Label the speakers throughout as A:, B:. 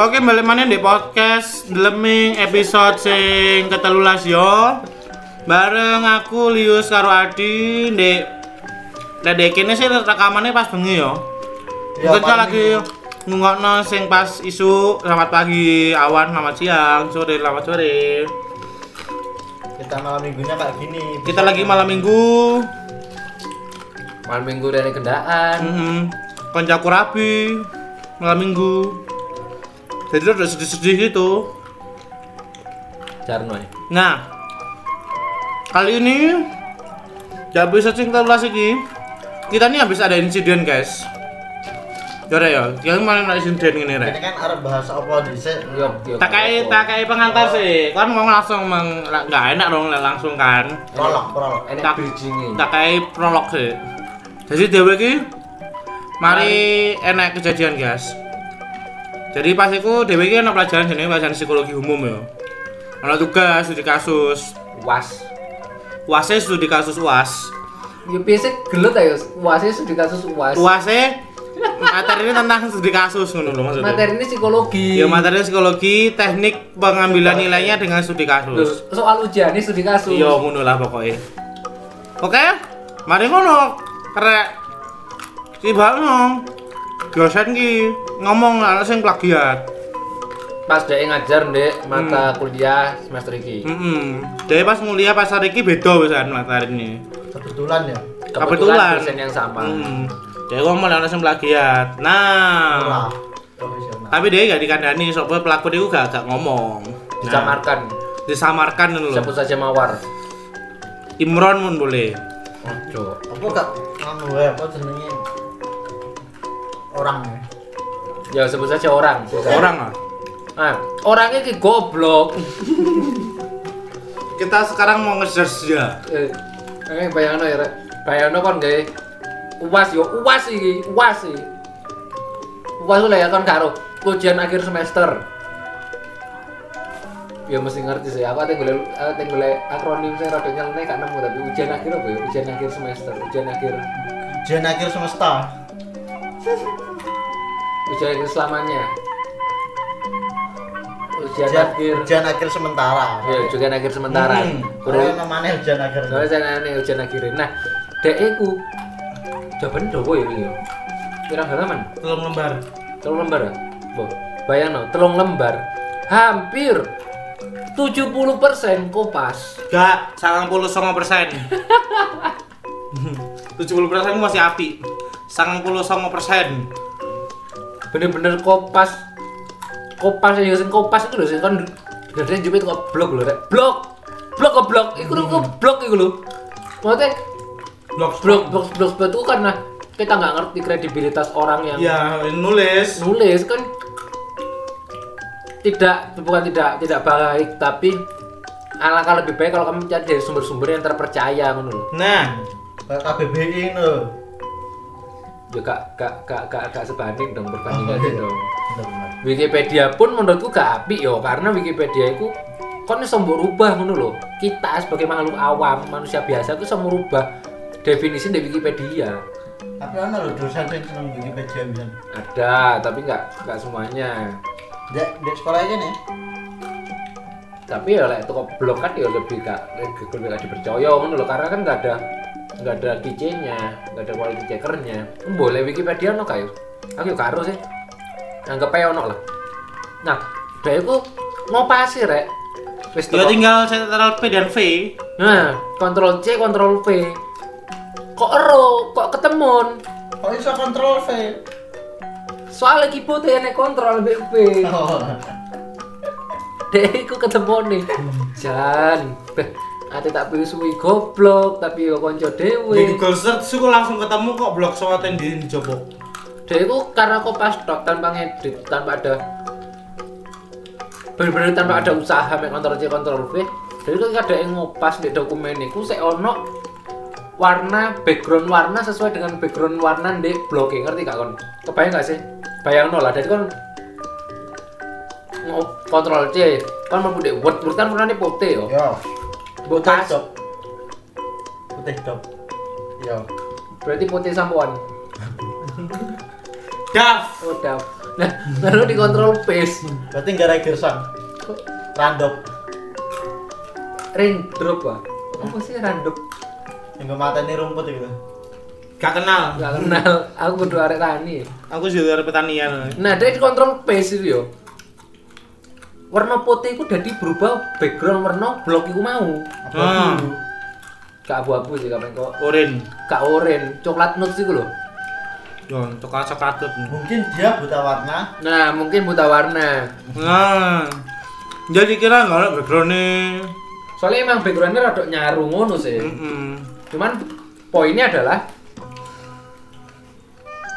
A: oke balik mana di podcast Deleming episode sing ketelulas yo. Bareng aku Lius karo Adi di Lah dek kene sih rekamannya pas bengi yo.
B: Ya,
A: Mungkin kita
B: paling
A: lagi ngungokno sing pas isu selamat pagi, awan, selamat siang, sore, selamat sore.
B: kita malam minggunya kayak gini
A: Kita lagi malam minggu.
C: malam minggu dari kendaan
A: Mm Konjaku rapi malam minggu. Jadi udah sedih-sedih gitu.
C: Jarno ya
A: Nah, kali ini gak bisa cerita ulas lagi. Kita nih habis ada insiden guys. Yaudah ya, yang mana ada insiden ini
B: ini
A: rek?
B: kan arep bahasa apa dhisik
C: yok yok
A: Takai takai pengantar sih, kan mau langsung meng, nggak enak dong langsung kan.
B: prolog prolog Eh,
C: enak
A: Tak-
C: bridgingnya
A: Takai prolog sih. Jadi dewe ki, mari enak kejadian guys. Jadi pas itu dewe ki enak pelajaran jenis pelajaran psikologi umum ya. Ada tugas, studi kasus,
C: was
A: uasnya studi kasus uas.
C: ya biasa gelut ya Yus. wasnya sudah kasus was
A: luasnya E, materi ini tentang studi kasus ngono lho maksudnya.
C: materi ini psikologi
A: Ya materi psikologi, teknik pengambilan nilainya dengan studi
C: Loh,
A: kasus.
C: soal ujian ini sudah kasus
A: Iya ngono lah pokoknya. Oke, mari ngono. Krek. Tiba nong. Dosen ki ngomong anak sing plagiat.
C: pas dia ngajar dek
A: Hmm.
C: mata kuliah semester ini
A: Heeh. Dhewe pas nguliah pas hari iki beda kan pisan materi ini.
B: kebetulan ya
A: Kebetulan. Hmm.
C: dosen yang sama
A: Heeh. Dhewe ngomong anak sing plagiat.
B: ora
A: Nah,
B: profesional
A: tapi dia gak dikandani soalnya pelaku dia gak, gak ngomong. Nah.
C: dicamarkan
A: disamarkan dulu
C: sebut saja mawar
A: Imron pun boleh
C: ojo
B: aku gak nganu wae apa jenenge orang ya
C: ya sebut saja orang
A: orang ah. lah
C: nah, orangnya ki goblok
A: kita sekarang mau ngejar dia
C: eh eh, bayangno ya Rek. bayangno kon gak uas yo uas iki uas iki uas lah ya kon karo ujian akhir semester ya mesti ngerti sih aku ate golek aku ate golek akronim saya rada nyeleneh gak nemu tapi ujian akhir apa ya ujian akhir semester ujian akhir
B: ujian akhir semesta
C: ujian akhir selamanya ujian
B: ujian,
C: akhir
B: ujian akhir sementara
C: ya ujian akhir sementara
A: Hmm.
B: kalau
C: Kurang-
B: namanya ujian akhir
C: Soalnya saya nanya ujian akhirin. Nah, dek iku jawaban dobo ya ini. Pirang halaman?
A: telung lembar
C: Telung lembar ya? Bo, bayangno, telung lembar hampir 70% kopas.
A: gak sangang puluh songo persen tujuh puluh persen masih api sangang puluh songo persen
C: Bener-bener kopas. Kopas ya sing kopas itu lho sing kan kon dari jepit kok blok lho rek. Blok. Blok kok blok. Iku lho kok blok iku lho. Maksudnya
A: blok
C: blok blok blok blok itu karena kita nggak ngerti kredibilitas orang yang
A: ya nulis
C: nulis kan tidak bukan tidak tidak baik tapi alangkah lebih baik kalau kamu mencari dari sumber-sumber yang terpercaya ngono lho.
A: nah
B: kayak KBBI lho
C: Ya gak gak gak gak, gak sebanding dong
B: Oh,
C: perbandingannya
B: iya.
C: dong.
B: bener-bener
C: Wikipedia pun menurutku gak apik yo karena Wikipedia itu kon iso mbok rubah ngono lho. Kita sebagai makhluk awam, manusia biasa itu iso merubah definisi dari Wikipedia.
B: tapi ana lho dosen sing seneng Wikipedia bisa
C: Ada, tapi nggak nggak semuanya.
B: Dek, dek sekolah ini nih
C: tapi ya lek toko blog kan ya lebih gak lebih lebih gak dipercaya ngono lho karena kan gak ada gak ada kicenya gak ada quality checkernya Kan boleh Wikipedia ono kayak aku ya gak harus sih anggap aja ono lah nah dia itu mau pasir rek wis
A: ya
C: teko-
A: tinggal central P dan V
C: nah kontrol C kontrol V kok ero kok ketemun
B: kok iso kontrol V
C: soalnya keyboard ya nek kontrol V
B: oh
C: Dek, aku ketemu nih.
A: Hmm.
C: Jan, beh, ate tak pilih suwi goblok, tapi yo konco
A: di
C: dhewe.
A: Google search aku langsung ketemu kok blok soal di Jopo
C: Dek iku karena aku pas tok tanpa ngedit, tanpa ada bener-bener tanpa ada usaha mek kontrol C kontrol V. Dek iku ada yang ngopas di dokumen iku sik ono warna background warna sesuai dengan background warna di blog ngerti gak kon? Kebayang gak sih? Bayangno lah, dadi kon ngop- kontrol C, kon mau di Word, Word kan warnane putih yo.
B: yo
C: Mbok
B: putih
C: tas-
B: dok putih Iya. dok yo
C: Berarti putih sampoan.
A: Daf
C: Udah. Nah, baru dikontrol pace.
B: Berarti nggak ada Gerson. Randop.
C: Raindrop ah. Apa sih random?
B: Yang gue mata ini rumput itu.
A: Gak kenal.
C: Gak kenal. Aku kudu arek tani.
A: Aku jualan pertanian.
C: Nah, dari kontrol pace itu yo. Warna putih itu jadi berubah background warna blok itu mau.
A: Ah,
C: Kak abu-abu sih kamen kok.
A: oren.
C: Kak oren, coklat nuts itu loh.
A: Yo, coklat coklat.
B: Mungkin dia buta warna.
C: Nah, mungkin buta warna.
A: Nah, jadi kira nggak ada backgroundnya.
C: Soalnya emang backgroundnya rada nyaru ngono sih.
A: Mm-mm.
C: Cuman poinnya adalah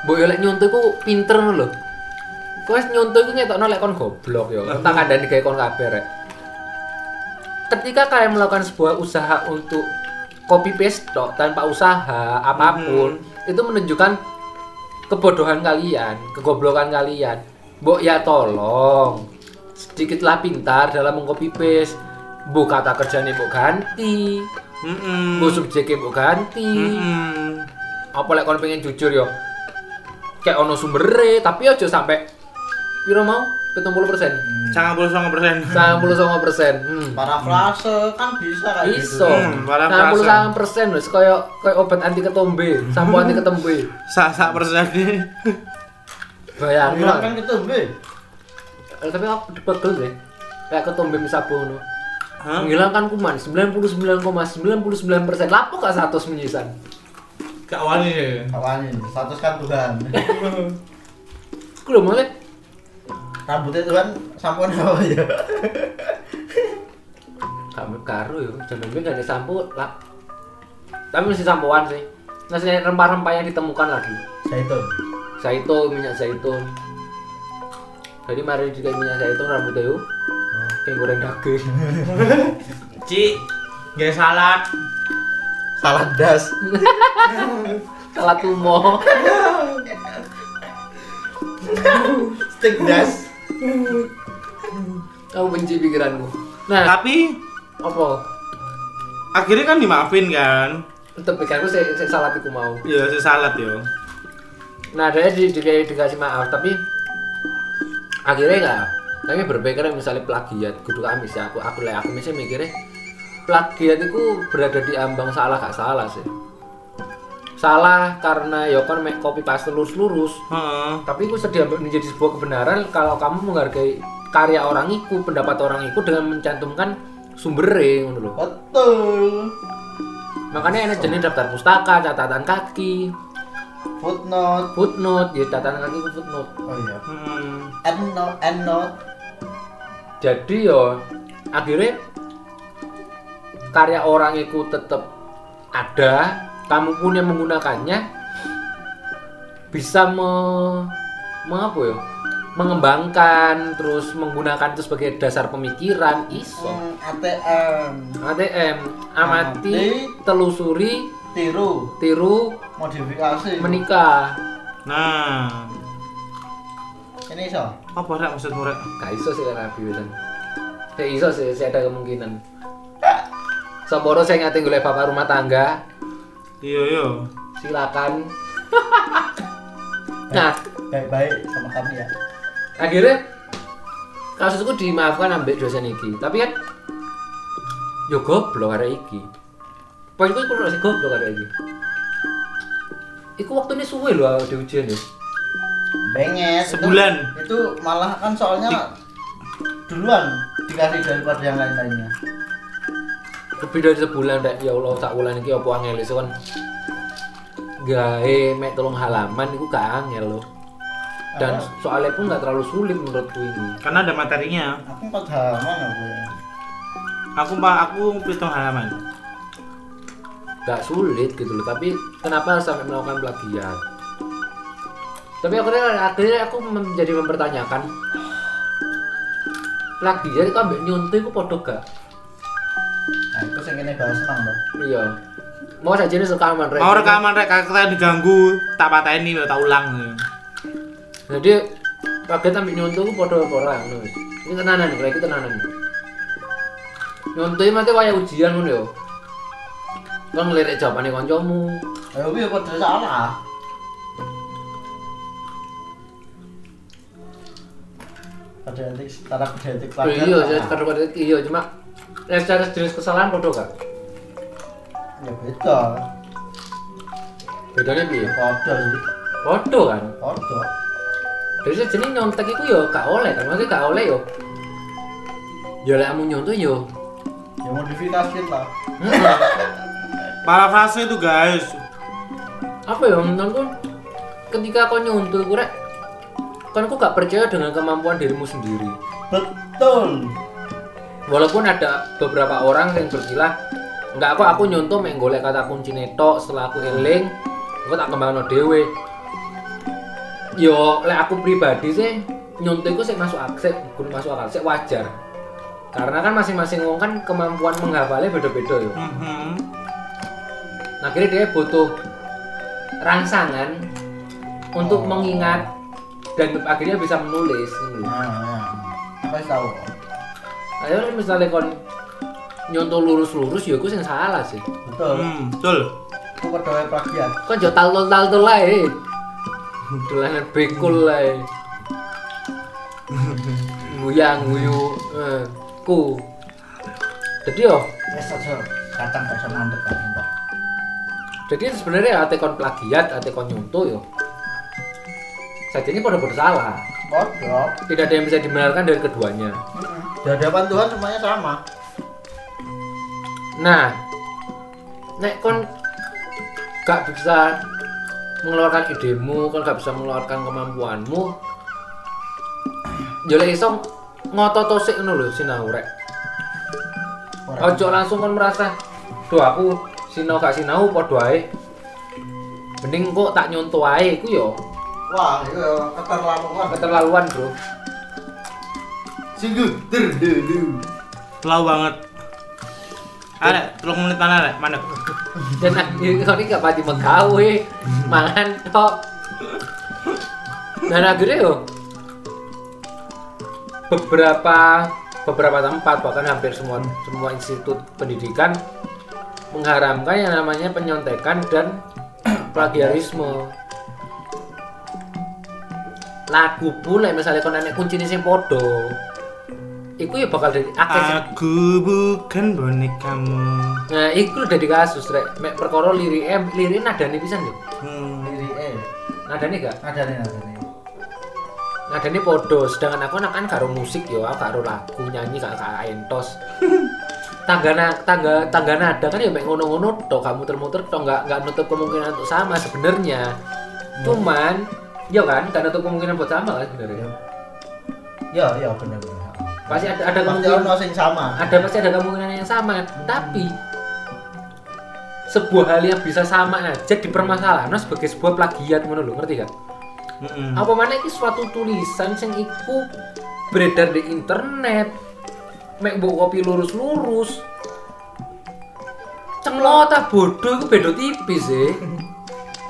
C: Mbok yo lek nyontoh iku pinter ngono lho. Kowe wis nyontoh iku ngetokno lek kon goblok yo.
A: Lah,
C: Tak kandhani gawe kon kabeh rek. Ketika kalian melakukan sebuah usaha untuk copy paste tok tanpa usaha apapun, itu menunjukkan kebodohan kalian, kegoblokan kalian. Mbok ya tolong sedikitlah pintar dalam mengcopy paste. Mbok kata kerjanya mbok ganti,
A: Mm-mm.
C: Mbok subjeknya mbok ganti.
A: Mm-mm.
C: Apa lek kon pengen jujur yo. Kayak ono sumbere, tapi aja sampai piro mau? 70%.
A: Sangat puluh sangat persen.
C: 99%. Hmm.
B: Parafrase kan bisa kayak gitu.
C: Iso.
A: Hmm, barang
C: 99% wis koyo koyo obat anti ketombe, sampo anti ketombe.
A: Sak sak persen ini.
C: Bayangno.
B: Bilang kan ketumbe.
C: Eh, Tapi aku debegel deh. Kayak ketombe misabu ngono.
A: Hah?
C: Menghilangkan kuman 99,99% lapo gak 100 menyisan.
A: Gak wani ya.
B: Kawanin, status kan Tuhan.
C: Ku lho mulai
B: Rambutnya Tuhan sampun apa ya?
C: Kamu karo yo, jenenge gak ada sampo lah. Tapi masih sampoan sih. Masih rempah-rempah yang ditemukan lagi.
B: Zaitun.
C: Zaitun, minyak zaitun. Jadi mari juga minyak zaitun rambut yo. Kayak goreng daging.
A: Ci, gak salah.
B: Salah das.
C: Salah tumo.
B: Stick das.
C: Kamu benci pikiranku. Nah,
A: Tapi
C: apa?
A: akhirnya kan dimaafin kan.
C: Untuk pikiranku saya, saya salah iku mau.
A: Ya si salat yo.
C: Nah, dia di, di, dikasih maaf, tapi akhirnya enggak. Kami berpikir misalnya plagiat, kudu amis ya. Aku aku lah aku misalnya mikirnya plagiat itu berada di ambang salah gak salah sih. Salah karena ya kan make copy paste lurus-lurus.
A: Heeh.
C: Tapi itu sedih menjadi sebuah kebenaran kalau kamu menghargai karya orang itu, pendapat orang itu dengan mencantumkan sumbernya ngono lho.
B: Betul.
C: Makanya enak jenis daftar pustaka, catatan kaki,
B: Footnote.
C: footnote, ya catatan kaki itu footnote.
B: Oh iya.
A: Heeh.
B: Endnote. Endnote.
C: Jadi yo akhirnya karya orang itu tetap ada, kamu pun yang menggunakannya bisa me, mengapa ya? Mengembangkan terus menggunakan itu sebagai dasar pemikiran iso.
B: Hmm, ATM.
C: ATM amati, telusuri,
B: Tiru.
C: tiru,
B: modifikasi
C: menikah.
A: Nah,
B: ini so
A: apa rek maksudmu rek?
C: Gak iso sih karena biusan. Ya iso sih, sih ada kemungkinan. Soporo saya ngerti oleh bapak rumah tangga,
A: Iya yo.
C: silakan. nah,
B: baik-baik sama kami ya
C: akhirnya kasusku dimaafkan ambek dosen iki. Tapi kan yo goblok arek iki. Poinku iku ora sih goblok arek iki. Iku waktunya suwe lho di ujian ya.
B: benges Itu-
A: Sebulan.
B: itu, malah kan soalnya duluan dikasih daripada yang lain-lainnya
C: lebih dari sebulan rek ya Allah tak ulan iki opo angel iso kan gawe mek tolong halaman iku gak angel lho dan
B: Apa?
C: soalnya pun nggak terlalu sulit menurutku ini
A: Karena ada materinya.
B: aku empat halaman aku ya
A: Aku pak aku pitung halaman.
C: nggak sulit gitu loh tapi kenapa harus sampai melakukan plagiat tapi akhirnya akhirnya aku menjadi mempertanyakan plagiat itu ambek nyuntuh itu podo gak
B: nah itu yang ini bahas senang dong
C: iya mau saja ini rekaman rek
A: Mau rekaman rek kita diganggu, tak pateni tak ulang.
C: jadi kaget ambil nyontoh ku podo apa ora ngono wis. Ini tenanan iki, iki tenanan. Nyontoh mate waya ujian ngono yo. Kon ngelirik jawabane kancamu.
B: ya, ayo gue kok salah kode etik secara kode etik
C: Oh,
B: pelajar sama.
C: iya, saya sekarang pada iya cuma eh, secara jenis kesalahan bodoh gak?
B: ya beda
C: Bedanya piye?
B: kode sih
C: Bodoh kan.
B: kode
C: Jadi sejenis nyontek itu yo gak oleh kan, maksudnya gak oleh yo. Yo lek kamu nyontek Hmm. yo.
B: ya modifikasi lah
A: Parafrase itu guys.
C: Apa ya menurutku ketika kau nyontek kurek kan aku gak percaya dengan kemampuan dirimu sendiri.
B: betul
C: Walaupun ada beberapa orang yang berkilah enggak aku aku nyontoh mek golek kata kunci netok setelah aku eling aku tak kembangno dhewe. Yo lek aku pribadi sih nyontoh iku sik masuk akal, sik gur- masuk akal, sik wajar. Karena kan masing-masing wong kan kemampuan menghafalnya beda-beda yo.
A: Mhm.
C: akhirnya dia butuh rangsangan untuk
B: Oh.
C: mengingat dan akhirnya bisa menulis gitu.
B: nah, nah. apa sih tahu
C: ayo misalnya kon nyontoh lurus-lurus ya aku sing salah sih
B: betul
A: Hmm, betul.
B: itu kode plagiat
C: kon jo talon talon lah eh dolanan bekul lah eh. nguyang nguyu eh, ku jadi yo
B: wes aja kacang bakso mandek kan Mbak.
C: jadi sebenarnya ate kon plagiat ate kon nyontoh yo saja ini pada bersalah
B: bodoh
C: tidak ada yang bisa dibenarkan dari keduanya
B: di hadapan Tuhan semuanya sama
C: Nah, nek kon gak bisa mengeluarkan idemu, kon gak bisa mengeluarkan kemampuanmu, yo lek iso ngotot sik ngono lho sinau rek.
B: Orang-
C: Ojo langsung kon merasa, "Duh aku sinau gak sinau padha ae." Mending kok tak nyontoh ae iku yo
B: wah itu keterlaluan
C: keterlaluan, Bro.
B: sungguh terdulu
A: Telau banget. Arek, telung menit mana arek? Mandek.
C: Dan ya, akhirnya kon iki gak pati menggawe, mangan tok. Dan akhirnya yo beberapa beberapa tempat bahkan hampir semua semua institut pendidikan mengharamkan yang namanya penyontekan dan plagiarisme. Lagu pun like, misalnya kon enek kuncine sing padha. Iku ya bakal dari akeh sing-
A: Ah. Aku bukan bonekamu.
C: Nah, iku udah di kasus rek. Mek perkara lirike lirike nadane pisan lho.
A: Hmm.
B: diri eh
C: Nadane gak?
B: ada nih ada nih
C: Nadane podo, sedangkan aku anak kan karo musik yo, aku karo lagu nyanyi gak gak entos. tangga na- tangga tangga nada kan ya mek ngono-ngono tok kamu muter-muter tok nggak nggak nutup kemungkinan untuk sama sebenarnya. Cuman Iya kan, gak nutup kemungkinan buat sama kan sebenarnya.
B: ya ya benar benar
C: Pasti ada ada
B: pasti
C: kemungkinan
B: orang yang sama
C: ada pasti ada kemungkinan yang sama, tapi sebuah hal yang bisa sama aja dipermasalahkan sebagai sebuah plagiat ngono lho, ngerti gak?
A: Mm-mm.
C: apa mana ini suatu tulisan sing iku beredar di internet mek mbok kopi lurus-lurus cenglot ta bodoh iku beda tipis e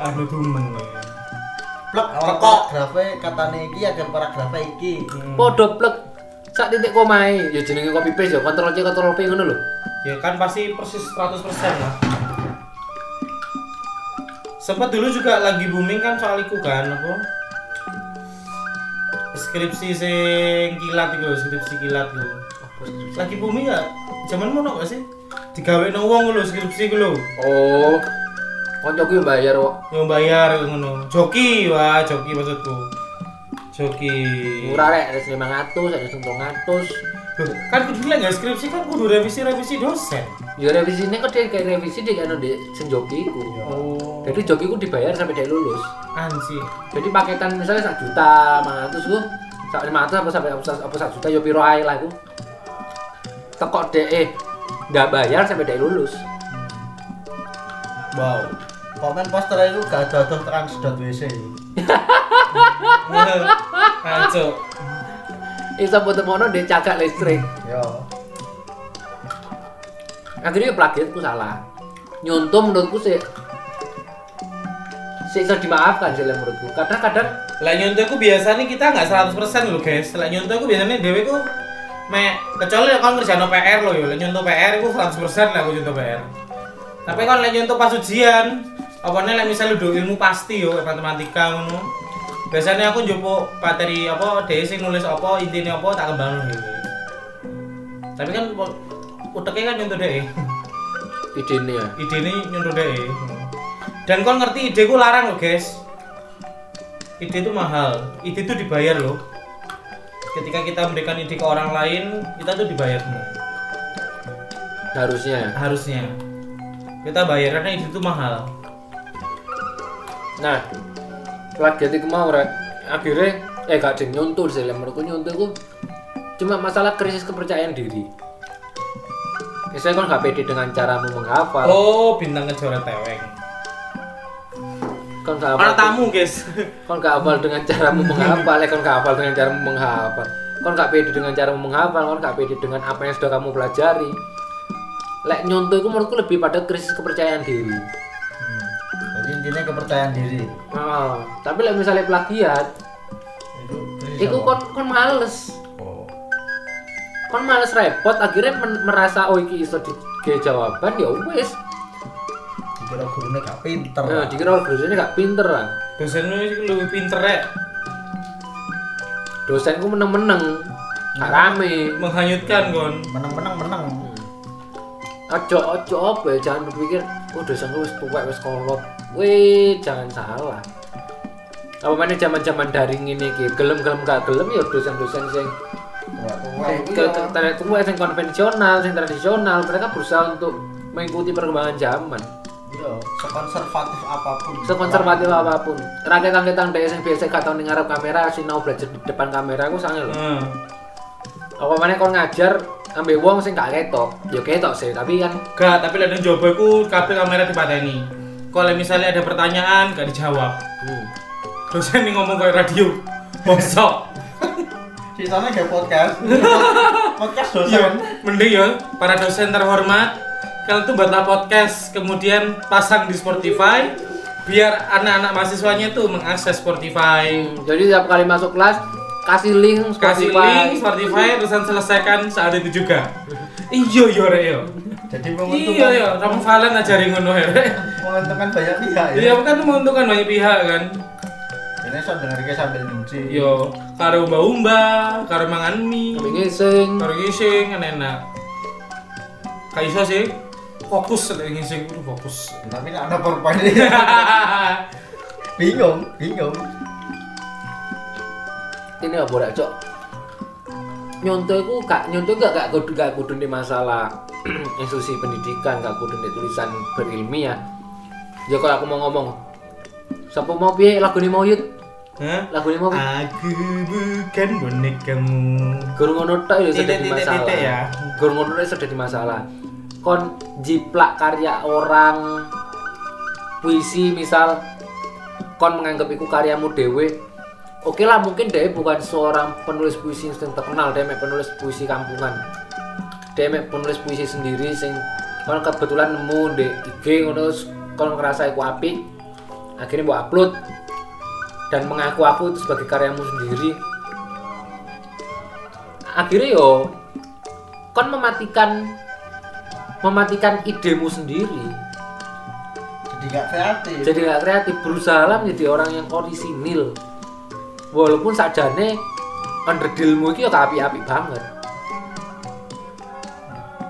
A: Aduh dumen.
B: blok
A: Tekok.
B: paragrafe katane iki ada paragrafe iki
A: Hmm.
C: padha plek sak titik komae ya jenenge copy paste ya kontrol C kontrol P ngono lho
A: Ya kan pasti persis 100% lah. Sempat dulu juga lagi booming kan soal iku kan apa? Skripsi sing kilat iku lho, skripsi kilat lho. Lagi booming gak? Zaman mono gak ya, sih? Digawe no wong lho skripsi iku lho.
C: oh kancaku yang bayar kok
A: Yang bayar ngono. Joki, wah joki maksudku. Joki.
C: murah rek ada 500 ada 900
A: Loh, kan kudu nilai nggak skripsi kan kudu revisi-revisi dosen.
C: ya revisi ini kok dia kayak revisi dia kan di senjoki ku
A: Oh.
C: jadi joki ku dibayar sampai dia lulus
A: Anjir.
C: jadi paketan misalnya sak juta mangan terus gue sak lima ratus apa sampai apa sak- apa sak juta yo piro ae lah gue tekok de eh nggak bayar sampai dia lulus
A: Wow.
B: komen poster itu gak ada ada trans.wc
A: Kacau.
C: iso butuh mono dia cagak listrik
B: yo
C: akhirnya ya plagiatku salah nyontoh menurutku sih sih iso dimaafkan sih lah menurutku karena kadang
A: Lah nyontohku biasanya kita nggak 100% loh guys. Lah nyontohku biasanya dewe ku me kecuali kan kalau ngerjain PR lo yo. Lah nyontoh PR ku 100% lah aku nyontoh PR. Tapi kan lah nyontoh pas ujian, apa nih lah misal lu ilmu pasti yo kayak matematika ngono. biasanya aku njupuk materi apa dhewe sing nulis apa intine apa tak kembangno dhewe. Tapi kan wo- uteknya kan nyontoh dhewe.
C: idenya
A: Ide ini nyontoh dhewe. Dan kon ngerti ide ku larang loh, guys. Ide itu mahal. Ide itu dibayar loh. Ketika kita memberikan ide ke orang lain, kita tuh dibayar semua.
C: harusnya
A: Harusnya. Kita bayar karena ide itu mahal.
C: nah plagiat itu mau rek akhirnya eh gak ada yang nyuntul sih lah menurutku nyuntul ku cuma masalah krisis kepercayaan diri misalnya kan gak pede dengan caramu menghafal
A: Oh, bintang kejora teweng.
C: kan gak
A: Para
C: hafal
A: tamu, guys.
C: kan gak hafal dengan caramu menghafal eh kan gak hafal dengan caramu menghafal kan gak pede dengan caramu menghafal kan gak pede dengan apa yang sudah kamu pelajari lek nyuntul itu menurutku lebih pada krisis kepercayaan diri
B: Hmm. Jadi intinya kepercayaan diri.
C: Oh, tapi lek misalnya plagiat
B: Itu
C: Iku kon kon males.
B: Oh,
C: Kon males repot akhirnya men- merasa oh iki iso dige jawaban ya wis.
B: dikira gurune gak pinter.
C: Nah, dikira orang dosennya gak pinter lah.
A: Dosenmu itu lebih pinter ya,
C: Dosenku meneng-meneng. Gak rame.
A: menghanyutkan kon.
B: Menang-menang menang.
C: Ojo ojo apa ya jangan berpikir oh dosenku wis tuwek wis kolot. Wih, jangan salah. Apa mana zaman-zaman daring ini ki gelem-gelem gak gelem ya dosen-dosen sing
B: Tua-tua
C: sing
B: itu
C: ke-
B: ya.
C: ke- ternyata tua, sing konvensional, sing tradisional, mereka berusaha untuk mengikuti perkembangan zaman.
B: Iya, sekonservatif apapun.
C: sekonservatif apapun rakyat-rakyatan dhewe sing biasa gak tau ning ngarep kamera sinau belajar di depan kamera aku sange lho
A: Heeh.
C: apa maneh kon ngajar ambil wong sing gak ketok ya ketok sih tapi kan
A: Gak, tapi lek nang jaba iku kabeh kamera dipateni. Kalau misalnya ada pertanyaan gak dijawab.
C: hmm,
A: Dosen ini ngomong kayak radio. Bosok.
B: Sisanya kayak podcast. podcast
A: Iya,
B: dosen.
A: mending ya para dosen terhormat kalian tuh buatlah podcast kemudian pasang di Spotify biar anak-anak mahasiswanya tuh mengakses Spotify.
C: jadi tiap kali masuk kelas kasih link
A: Kasih
C: Spotify.
A: link Spotify terusan selesaikan saat itu juga. Iya iya rek yo.
B: Jadi
A: Iya
B: menguntungkan
A: yo, kamu Valen ngajari ngono ya. Rek.
B: menguntungkan banyak pihak ya.
A: Iya kan menguntungkan banyak pihak kan.
B: Ini saya dengerin sambil nyuci.
C: Iya.
A: Yo, karo umba-umba, karo mangan mie,
C: Wingi sing
A: karo ngising kan enak. Kayak iso sih fokus lek ngising kudu fokus.
B: Tapi ini ada PowerPoint ini.
C: Iya.
B: bingung, bingung.
C: ini apa boleh cok nyontoh itu gak nyontoh gak gak kudu gak kudu di masalah institusi pendidikan gak kudu di tulisan berilmiah ya kalau aku mau ngomong siapa mau piye lagu ini mau yut
A: Hah?
C: lagu ini mau piye?
A: Aku bukan bonekamu.
C: guru ngono tok ya sudah di
A: Titik, titik,
C: masalah
A: titik ya.
C: guru ngono tok sudah di masalah kon jiplak karya orang puisi misal kon menganggap itu karyamu dewe oke lah mungkin dia bukan seorang penulis puisi yang terkenal dia mek penulis puisi kampungan dia mek penulis puisi sendiri sing kon kebetulan nemu di IG ngono terus kon ngerasa iku apik akhirnya buat upload dan mengaku aku itu sebagai karyamu sendiri akhirnya yo kon mematikan mematikan idemu sendiri
B: Jadi gak kreatif.
C: jadi nggak kreatif berusaha menjadi orang yang orisinil walaupun sajane underdealmu itu ya api-api banget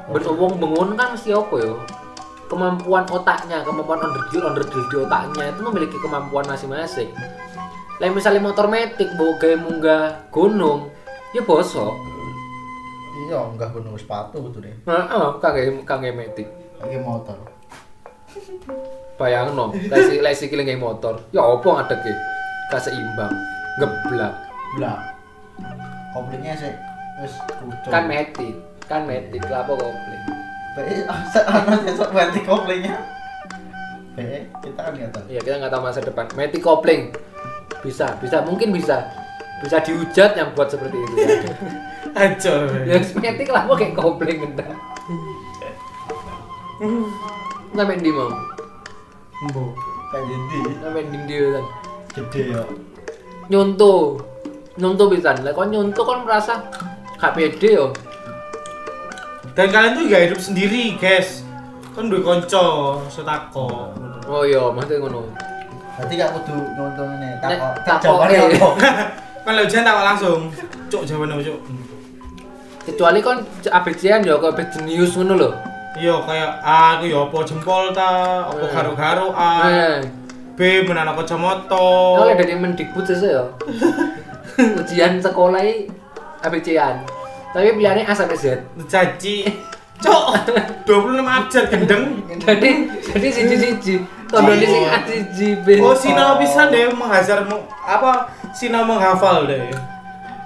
C: berhubung bengun kan mesti apa ya kemampuan otaknya kemampuan underdeal underdeal di otaknya itu memiliki kemampuan masing-masing lah misalnya motor metik bawa gaya munggah gunung ya bosok
B: Iya, enggak gunung sepatu gitu deh.
C: Heeh, kangge kangge metik.
B: Ini motor.
C: Bayangno, lek si- lek sikile nggae motor. Ya apa ngadeke? Gak seimbang, geblak.
B: Lah. Koplingnya sih wis kucuk.
C: Kan metik, kan metik lah apa kopling.
B: Be, ana sesuk ganti ya, koplingnya. Be, kita kan nggak tahu.
C: Ya kita nggak tahu masa depan. Metik kopling. Bisa, bisa mungkin bisa. Bisa dihujat yang buat seperti itu.
A: Acor.
C: ya wis metik lah kok kayak kopling endah. Sampai ndi mau?
A: Uh, Mbo.
B: Kayak jadi
C: Sampai ndi dhewe kan.
B: gede ya.
C: nyontoh nyontoh pisan lek kon nyontoh kon merasa gak pede yo
A: Dan kalian tuh gak hidup sendiri, guys. Kan duwe kanca setako.
C: oh iya maksudnya ngono
B: Berarti gak kudu nyontoh ini
C: Nek,
B: takok.
C: takok,
B: Jawabannya
C: eh.
B: apa?
A: Kan lo jangan tak langsung. Cuk jawabannya cuk.
C: kecuali kon ABC-an ya kok jenius ngono lho.
A: Iya kayak A aku ya apa jempol ta, apa
C: Hmm.
A: garu-garu A,
C: Nah,
A: B menanak kacamata.
C: oleh dari Mendikbud sese ya. Ujian sekolah ini ABC-an. Tapi pilihannya A sampai Z.
A: Caci. Cuk, 25 abjad gendeng.
C: Jadi jadi siji-siji. Tandone sing A siji B.
A: Oh, Sina pisan deh menghajar meng- apa Sina menghafal deh.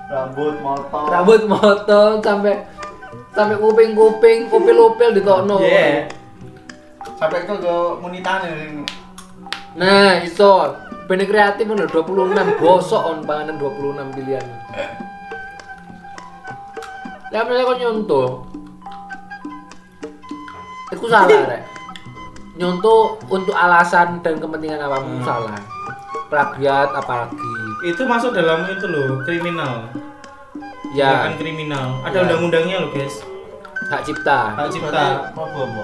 B: Rambut motor.
C: Rambut motong sampai sampai kuping-kuping, kupil-kupil ditokno.
A: Iya.
B: Sampai ke ke munitane.
C: Nah, iso. Bener kreatif bener 26 bosok on panganan 26 pilihan. Lah mele kok nyontoh. Iku salah rek. Nyontoh untuk alasan dan kepentingan awamu salah. Plagiat apalagi.
A: Itu masuk dalam itu loh, kriminal. Tindakan
C: Ya,
A: kriminal. Ada
C: Ya.
A: undang-undangnya loh, guys.
C: hak cipta.
A: Hak cipta.
B: Apa apa?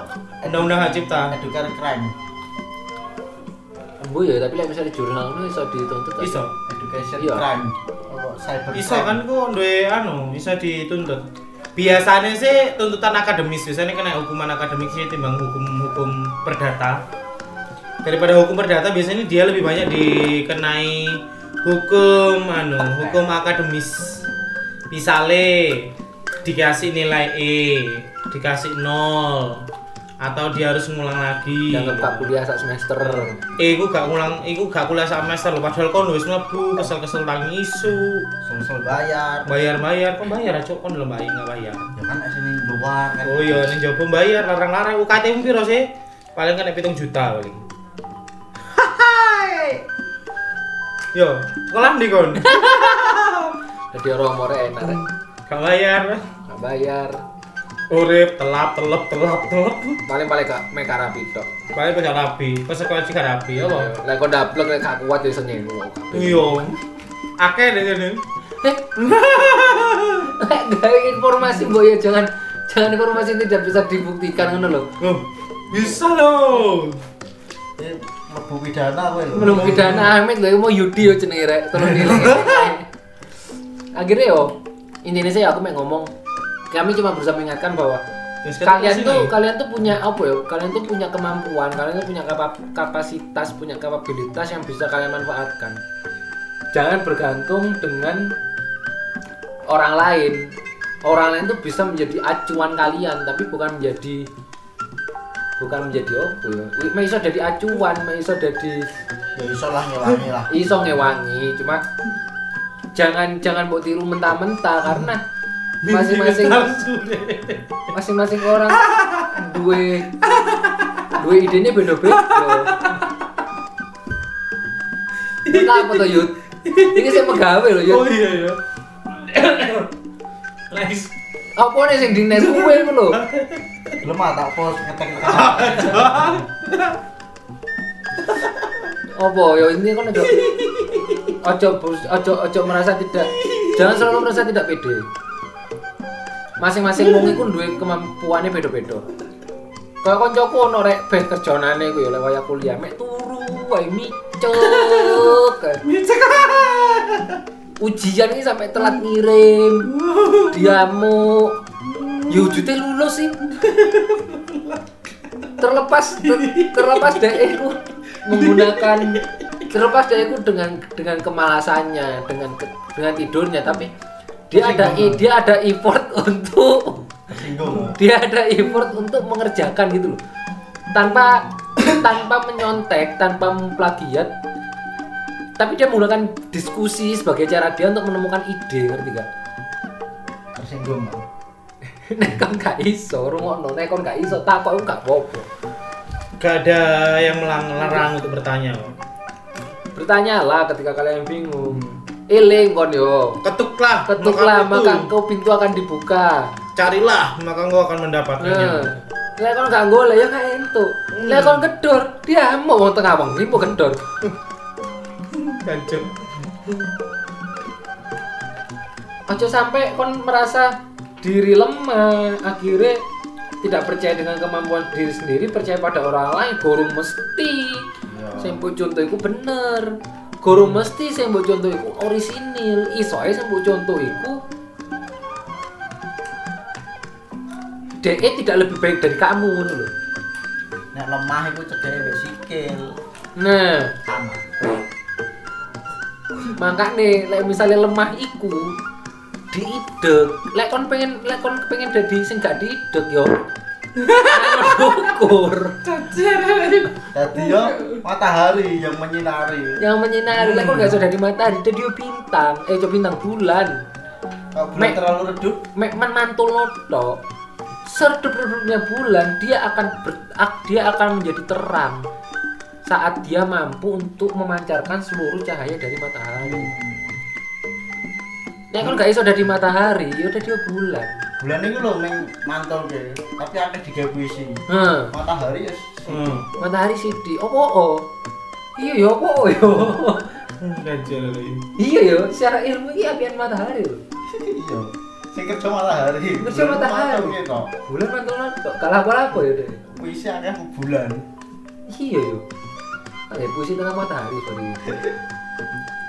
A: Undang-undang hak cipta.
B: Edukar crime.
C: Bu ya, tapi lek misalnya jurnal itu iso dituntut. kan?
A: Iso.
B: Education
C: Iya.
B: crime. Apa cyber
A: Iso
B: crime.
A: kan kok duwe anu, bisa dituntut. Biasanya sih tuntutan akademis, biasanya kena hukuman akademik sih timbang hukum-hukum perdata. Daripada hukum perdata biasanya dia lebih banyak dikenai hukum anu, hukum akademis. Misale dikasih nilai E, dikasih nol atau dia harus ngulang lagi.
C: Dianggap tak kuliah sak semester.
A: Eh, iku gak ngulang, iku gak kuliah semester lho, padahal kon wis mlebu, kesel-kesel tangi isu
B: Sumsel bayar.
A: bayar bayar kok bayar cok kon belum bayar nggak bayar
B: Ya kan nek sini luar kan.
A: oh iya nih jawab bayar larang larang ukt mu piro sih paling kan pitung juta paling Hai. yo sekolah di kon
C: Jadi orang more enak rek.
A: gak bayar
C: Gak bayar.
A: urip telap telep telap telep
C: Paling-paling gak meka rapi tok.
A: paling pacar rapi pas sekolah sih gak rapi ya lo
C: Lek Iya, kok dablek lek gak kuat ya iso nyengu.
A: iya akeh deh ini
C: Eh, lek gawe informasi mbok ya jangan jangan informasi yang tidak bisa dibuktikan ngono lho.
A: Loh, bisa loh
B: Ini mlebu pidana ya? kowe
A: Iya.
B: lho.
C: Belum pidana Ahmed lho mau Yudi yo jenenge rek, tolong nilai. Akhirnya yo intinya sih aku mek ngomong kami cuma berusaha mengingatkan bahwa
A: Terus kita
C: kalian
A: kesini.
C: tuh kalian tuh punya apa ya kalian tuh punya kemampuan kalian tuh punya kapa- kapasitas punya kapabilitas yang bisa kalian manfaatkan jangan bergantung dengan orang lain orang lain tuh bisa menjadi acuan kalian tapi bukan menjadi bukan menjadi apa ya Mek iso jadi acuan mek iso jadi
B: Ya iso lah ngewangi lah.
C: iso ngewangi cuma jangan jangan buat tiru mentah-mentah karena
A: Mimpi
C: masing-masing
A: palsu deh.
C: masing-masing orang duwe duwe idenya beda-beda Entah apa tuh Yud ini saya pegawai loh Yud
A: oh iya iya Nice.
C: apa nih yang dines kue lo
B: Belum ah tak pos ngetek-ngetek.
C: apa ya ini kan ojo ojo bus- ojo ojo merasa tidak jangan selalu merasa tidak pede masing-masing wong iku duwe kemampuane beda-beda kaya kancaku ono rek ben kerjonane ku ya lek wayah kuliah mek turu wae micek ujian ini sampai telat ngirim diamu ya wujudnya lulus sih terlepas ter- terlepas dari aku menggunakan terlepas dari aku dengan dengan kemalasannya dengan ke- dengan tidurnya tapi dia ada i- dia ada effort untuk
B: Tersinggung.
C: dia ada effort untuk mengerjakan gitu loh tanpa tanpa menyontek tanpa memplagiat tapi dia menggunakan diskusi sebagai cara dia untuk menemukan ide ngerti gak?
B: Tersinggung.
C: Nek kon gak iso rungokno, nek kon gak iso takok aku gak apa-apa.
A: Gak ada yang melarang untuk bertanya. kok.
C: Bertanyalah ketika kalian bingung. Eling kon yo.
A: Ketuklah,
C: Ketuklah
A: maka Ah,
C: maka
A: itu.
C: engkau pintu akan dibuka.
A: Carilah, maka engkau akan mendapatkannya.
C: Nah, lek kon gak golek ya gak entuk. Lek kon gedor, dia mau wong tengah wong lipo gedor.
A: Ganceng.
C: Ojo sampai kon merasa diri lemah, akhirnya tidak percaya dengan kemampuan diri sendiri, percaya pada orang lain, gorong mesti.
B: Iya.
C: Sing mbok contoh iku bener. Guru mesti sing mbok contoh iku orisinil. Iso ae sing mbok contoh iku DE E tidak lebih baik dari kamu ngono lho.
B: Nek lemah iku cedeke mbek sikil.
C: Nah,
B: Sama.
C: makane lek misalnya lemah iku diidek. Lek kon pengen lek kon pengen dadi sing gak diidek yo. Syukur.
B: Jadi yo matahari yang menyinari.
C: yang menyinari lah kok gak sudah di matahari jadi dia bintang eh coba bintang bulan
B: Kalau bulan
C: Mek.
B: terlalu redup,
C: mek mantul loto serdep-serdepnya bulan dia akan ber- ak- dia akan menjadi terang saat dia mampu untuk memancarkan seluruh cahaya dari matahari ya kalau gak iso dari matahari ya udah dia bulan
B: bulan ini loh neng mantul ke, tapi akeh digawe puisi.
C: Heh,
B: Matahari ya.
A: Hmm.
C: matahari sidi opo oh iya ya opo oh, yo
A: Ganjel lagi.
C: iya yo secara ilmu ini apian matahari loh
B: Iya. Sing kerja matahari.
C: Kerja
B: Bulan
C: matahari.
B: mantul gitu.
C: bulan kan mantul loto kalah apa ya deh
B: Puisi akeh ke bulan.
C: Iya yo. Ada puisi tengah matahari tadi.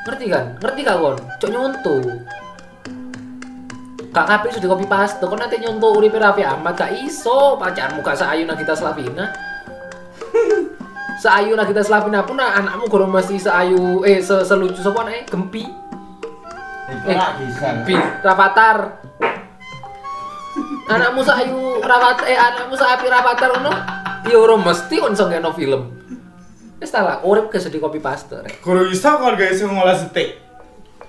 C: Ngerti kan? Ngerti gak kon? Cok nyonto. Kak Kapil sudah kopi paste, kok nanti nyonto uripe Raffi Ahmad gak iso pacarmu gak seayu Nagita Slavina. seayu Nagita Slavina pun nah, anakmu kurang mesti seayu eh se selucu sapa anake Gempi.
B: Itu
C: Eh,
B: lah bisa.
C: Gempi Rafathar. anakmu seayu Rafat eh anakmu seapi Rafathar ngono. Ya ora mesti kon iso ngeno film. Wis ta lah, urip ke sedih kopi paste. rek.
A: Guru bisa kalau guys yang ngolah setik.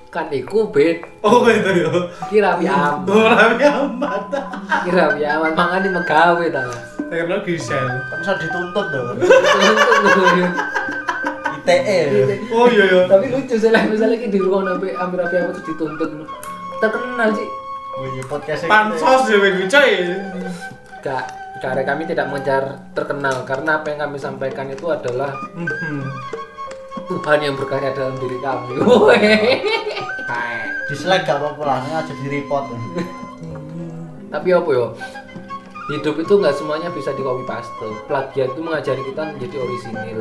C: Kan iku bet
A: Oh gitu ya.
C: kira Raffi Ahmad.
A: Orang yang mata.
C: Kira Raffi Ahmad mangane megawe ta. Mas.
A: Teknologi sel.
B: Kan bisa dituntut loh.
C: Untung gue.
B: ITE.
A: Oh iya iya.
C: Tapi lucu sih lah misalnya ki di ruang sampai ambil Raffi Ahmad terus dituntut. Terkenal sih.
B: Oh iya podcast
A: Pansos ya begitu coy.
C: Kak, karena kami tidak mengejar terkenal karena apa yang kami sampaikan itu adalah
A: Hmm.
C: Tuhan yang berkarya dalam diri kami. Woi.
B: Dislike gak apa-apa langsung aja di report.
C: Tapi apa ya? Hidup itu nggak semuanya bisa di copy paste. Plagiat itu mengajari kita menjadi orisinil.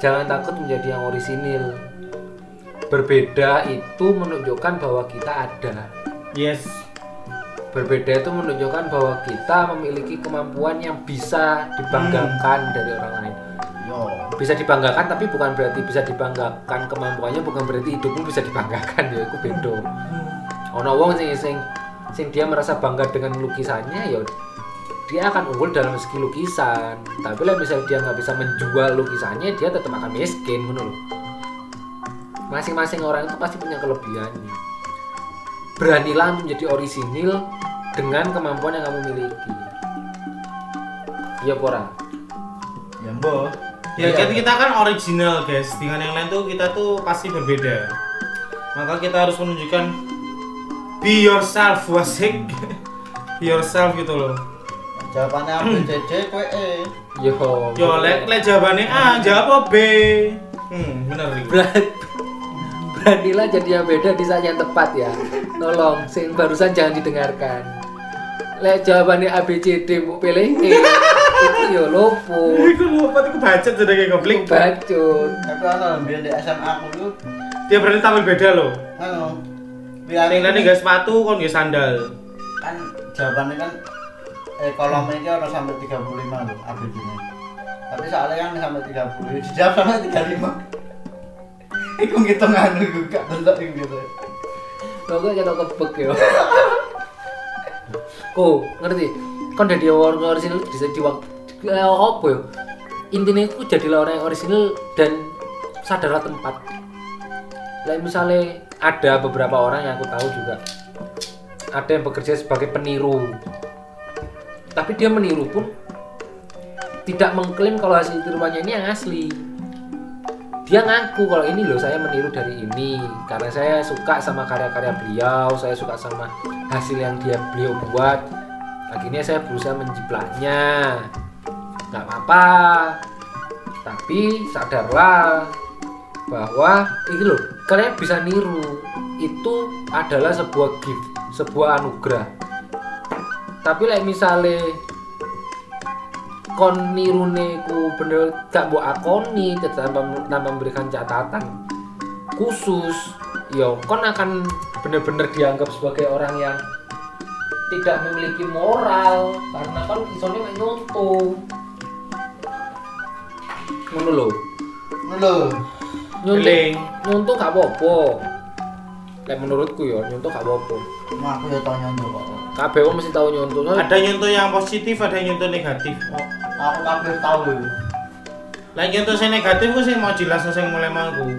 C: Jangan takut menjadi yang orisinil. Berbeda itu menunjukkan bahwa kita ada.
A: Yes.
C: Berbeda itu menunjukkan bahwa kita memiliki kemampuan yang bisa dibanggakan dari orang lain.
B: Yo.
C: Bisa dibanggakan tapi bukan berarti bisa dibanggakan kemampuannya bukan berarti hidupmu bisa dibanggakan ya itu bedo ono wong sing sing sing dia merasa bangga dengan lukisannya ya dia akan unggul dalam segi lukisan tapi lah misalnya dia nggak bisa menjual lukisannya dia tetap akan miskin menurut masing-masing orang itu pasti punya kelebihannya beranilah menjadi orisinil dengan kemampuan yang kamu miliki iya pora
B: Ya mbok.
A: Ya
C: Iya.
A: kan kita kan original guys. Dengan yang lain tuh kita tuh pasti berbeda. Maka kita harus menunjukkan be yourself wasik. be yourself gitu loh.
B: Jawabannya A B C D kowe E.
C: yo
A: Yo lek lek jawabannya A, jawab apa B. Hmm, bener nih.
C: Berat- beranilah jadi yang beda di saat yang tepat ya tolong sing barusan jangan didengarkan lek jawabannya A B C D mau pilih E itu yo lopo
A: Iku lupa tuh kebaca sudah kayak komplik.
C: bacut
B: Tapi ana ambil di SMA aku itu
A: Dia berani tampil beda loh.
B: ngono.
A: Yang lain nggak sepatu, kon nggak sandal.
B: kan jawabannya kan eh kolomnya ini orang sampai 35 loh abjadnya tapi soalnya kan sampai 30 dijawab sampai 35 Iku ngitung anu iku gak bentuk iku gitu.
C: Logo kita kebek yo. Ku ngerti. Kon jadi orang orisinal bisa diwak eh, apa yo? Intinya ku jadilah orang yang orisinal dan sadarlah tempat. Lain misalnya ada beberapa orang yang aku tahu juga ada yang bekerja sebagai peniru. Tapi dia meniru pun tidak mengklaim kalau hasil tiruannya ini yang asli dia ngaku kalau ini loh saya meniru dari ini karena saya suka sama karya-karya beliau saya suka sama hasil yang dia beliau buat akhirnya saya berusaha menjiplaknya nggak apa-apa tapi sadarlah bahwa ini loh kalian bisa niru itu adalah sebuah gift sebuah anugerah tapi like misalnya kon nirune ku bener gak mbok akoni tanpa tanpa memberikan catatan khusus yo kon akan bener-bener dianggap sebagai orang yang tidak memiliki moral karena kan isone mek nyoto ngono lho
B: Ngono lho.
C: nyonto
A: Eling.
C: nyonto gak apa-apa lek menurutku yo nyonto gak apa-apa
B: Nah, aku ya tau nyontok kok.
C: kabeh wong mesti tau nyonto
A: Ada nyentuh yang positif, ada yang nyentuh negatif.
B: Kok Aku kabeh tau lho.
A: Lek nyentuh sing negatif ku sing mau jelas sing mulai mangku.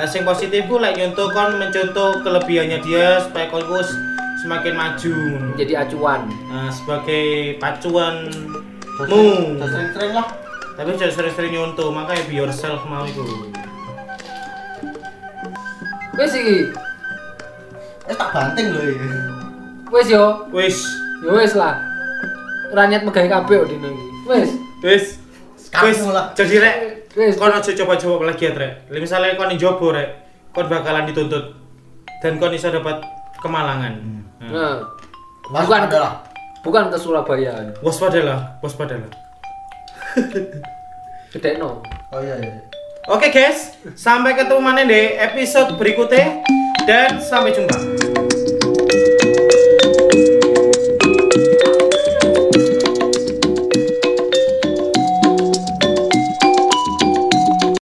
A: Lah sing positif ku lek nyentuh kon mencontoh kelebihannya dia supaya kon ku s- semakin maju ngono.
C: jadi acuan
A: Nah, sebagai pacuan
B: Terus-
A: mu.
B: terus Sering-sering lah.
A: Tapi jangan sering-sering nyontoh, makanya be yourself mau itu.
C: wes iki
B: Wis Eh, tak banting lho iya. iki.
C: wes yo
A: Wis,
C: ya wes lah rakyat megai kabeh kok dino iki wes
A: wis.
B: Sekarang
A: Wis,
B: mulai.
A: jadi rek,
C: wes
A: kon aja coba-coba lagi ya, rek. Lah, Misalnya kon yang jobo rek, kon bakalan dituntut dan kon bisa dapat kemalangan. Nah.
C: nah bukan
B: Bukan adalah
C: bukan ke Surabaya
A: Waspadalah, waspadalah.
C: gedekno
B: Oh iya iya.
A: Oke guys, sampai ketemu mana deh episode berikutnya dan sampai jumpa.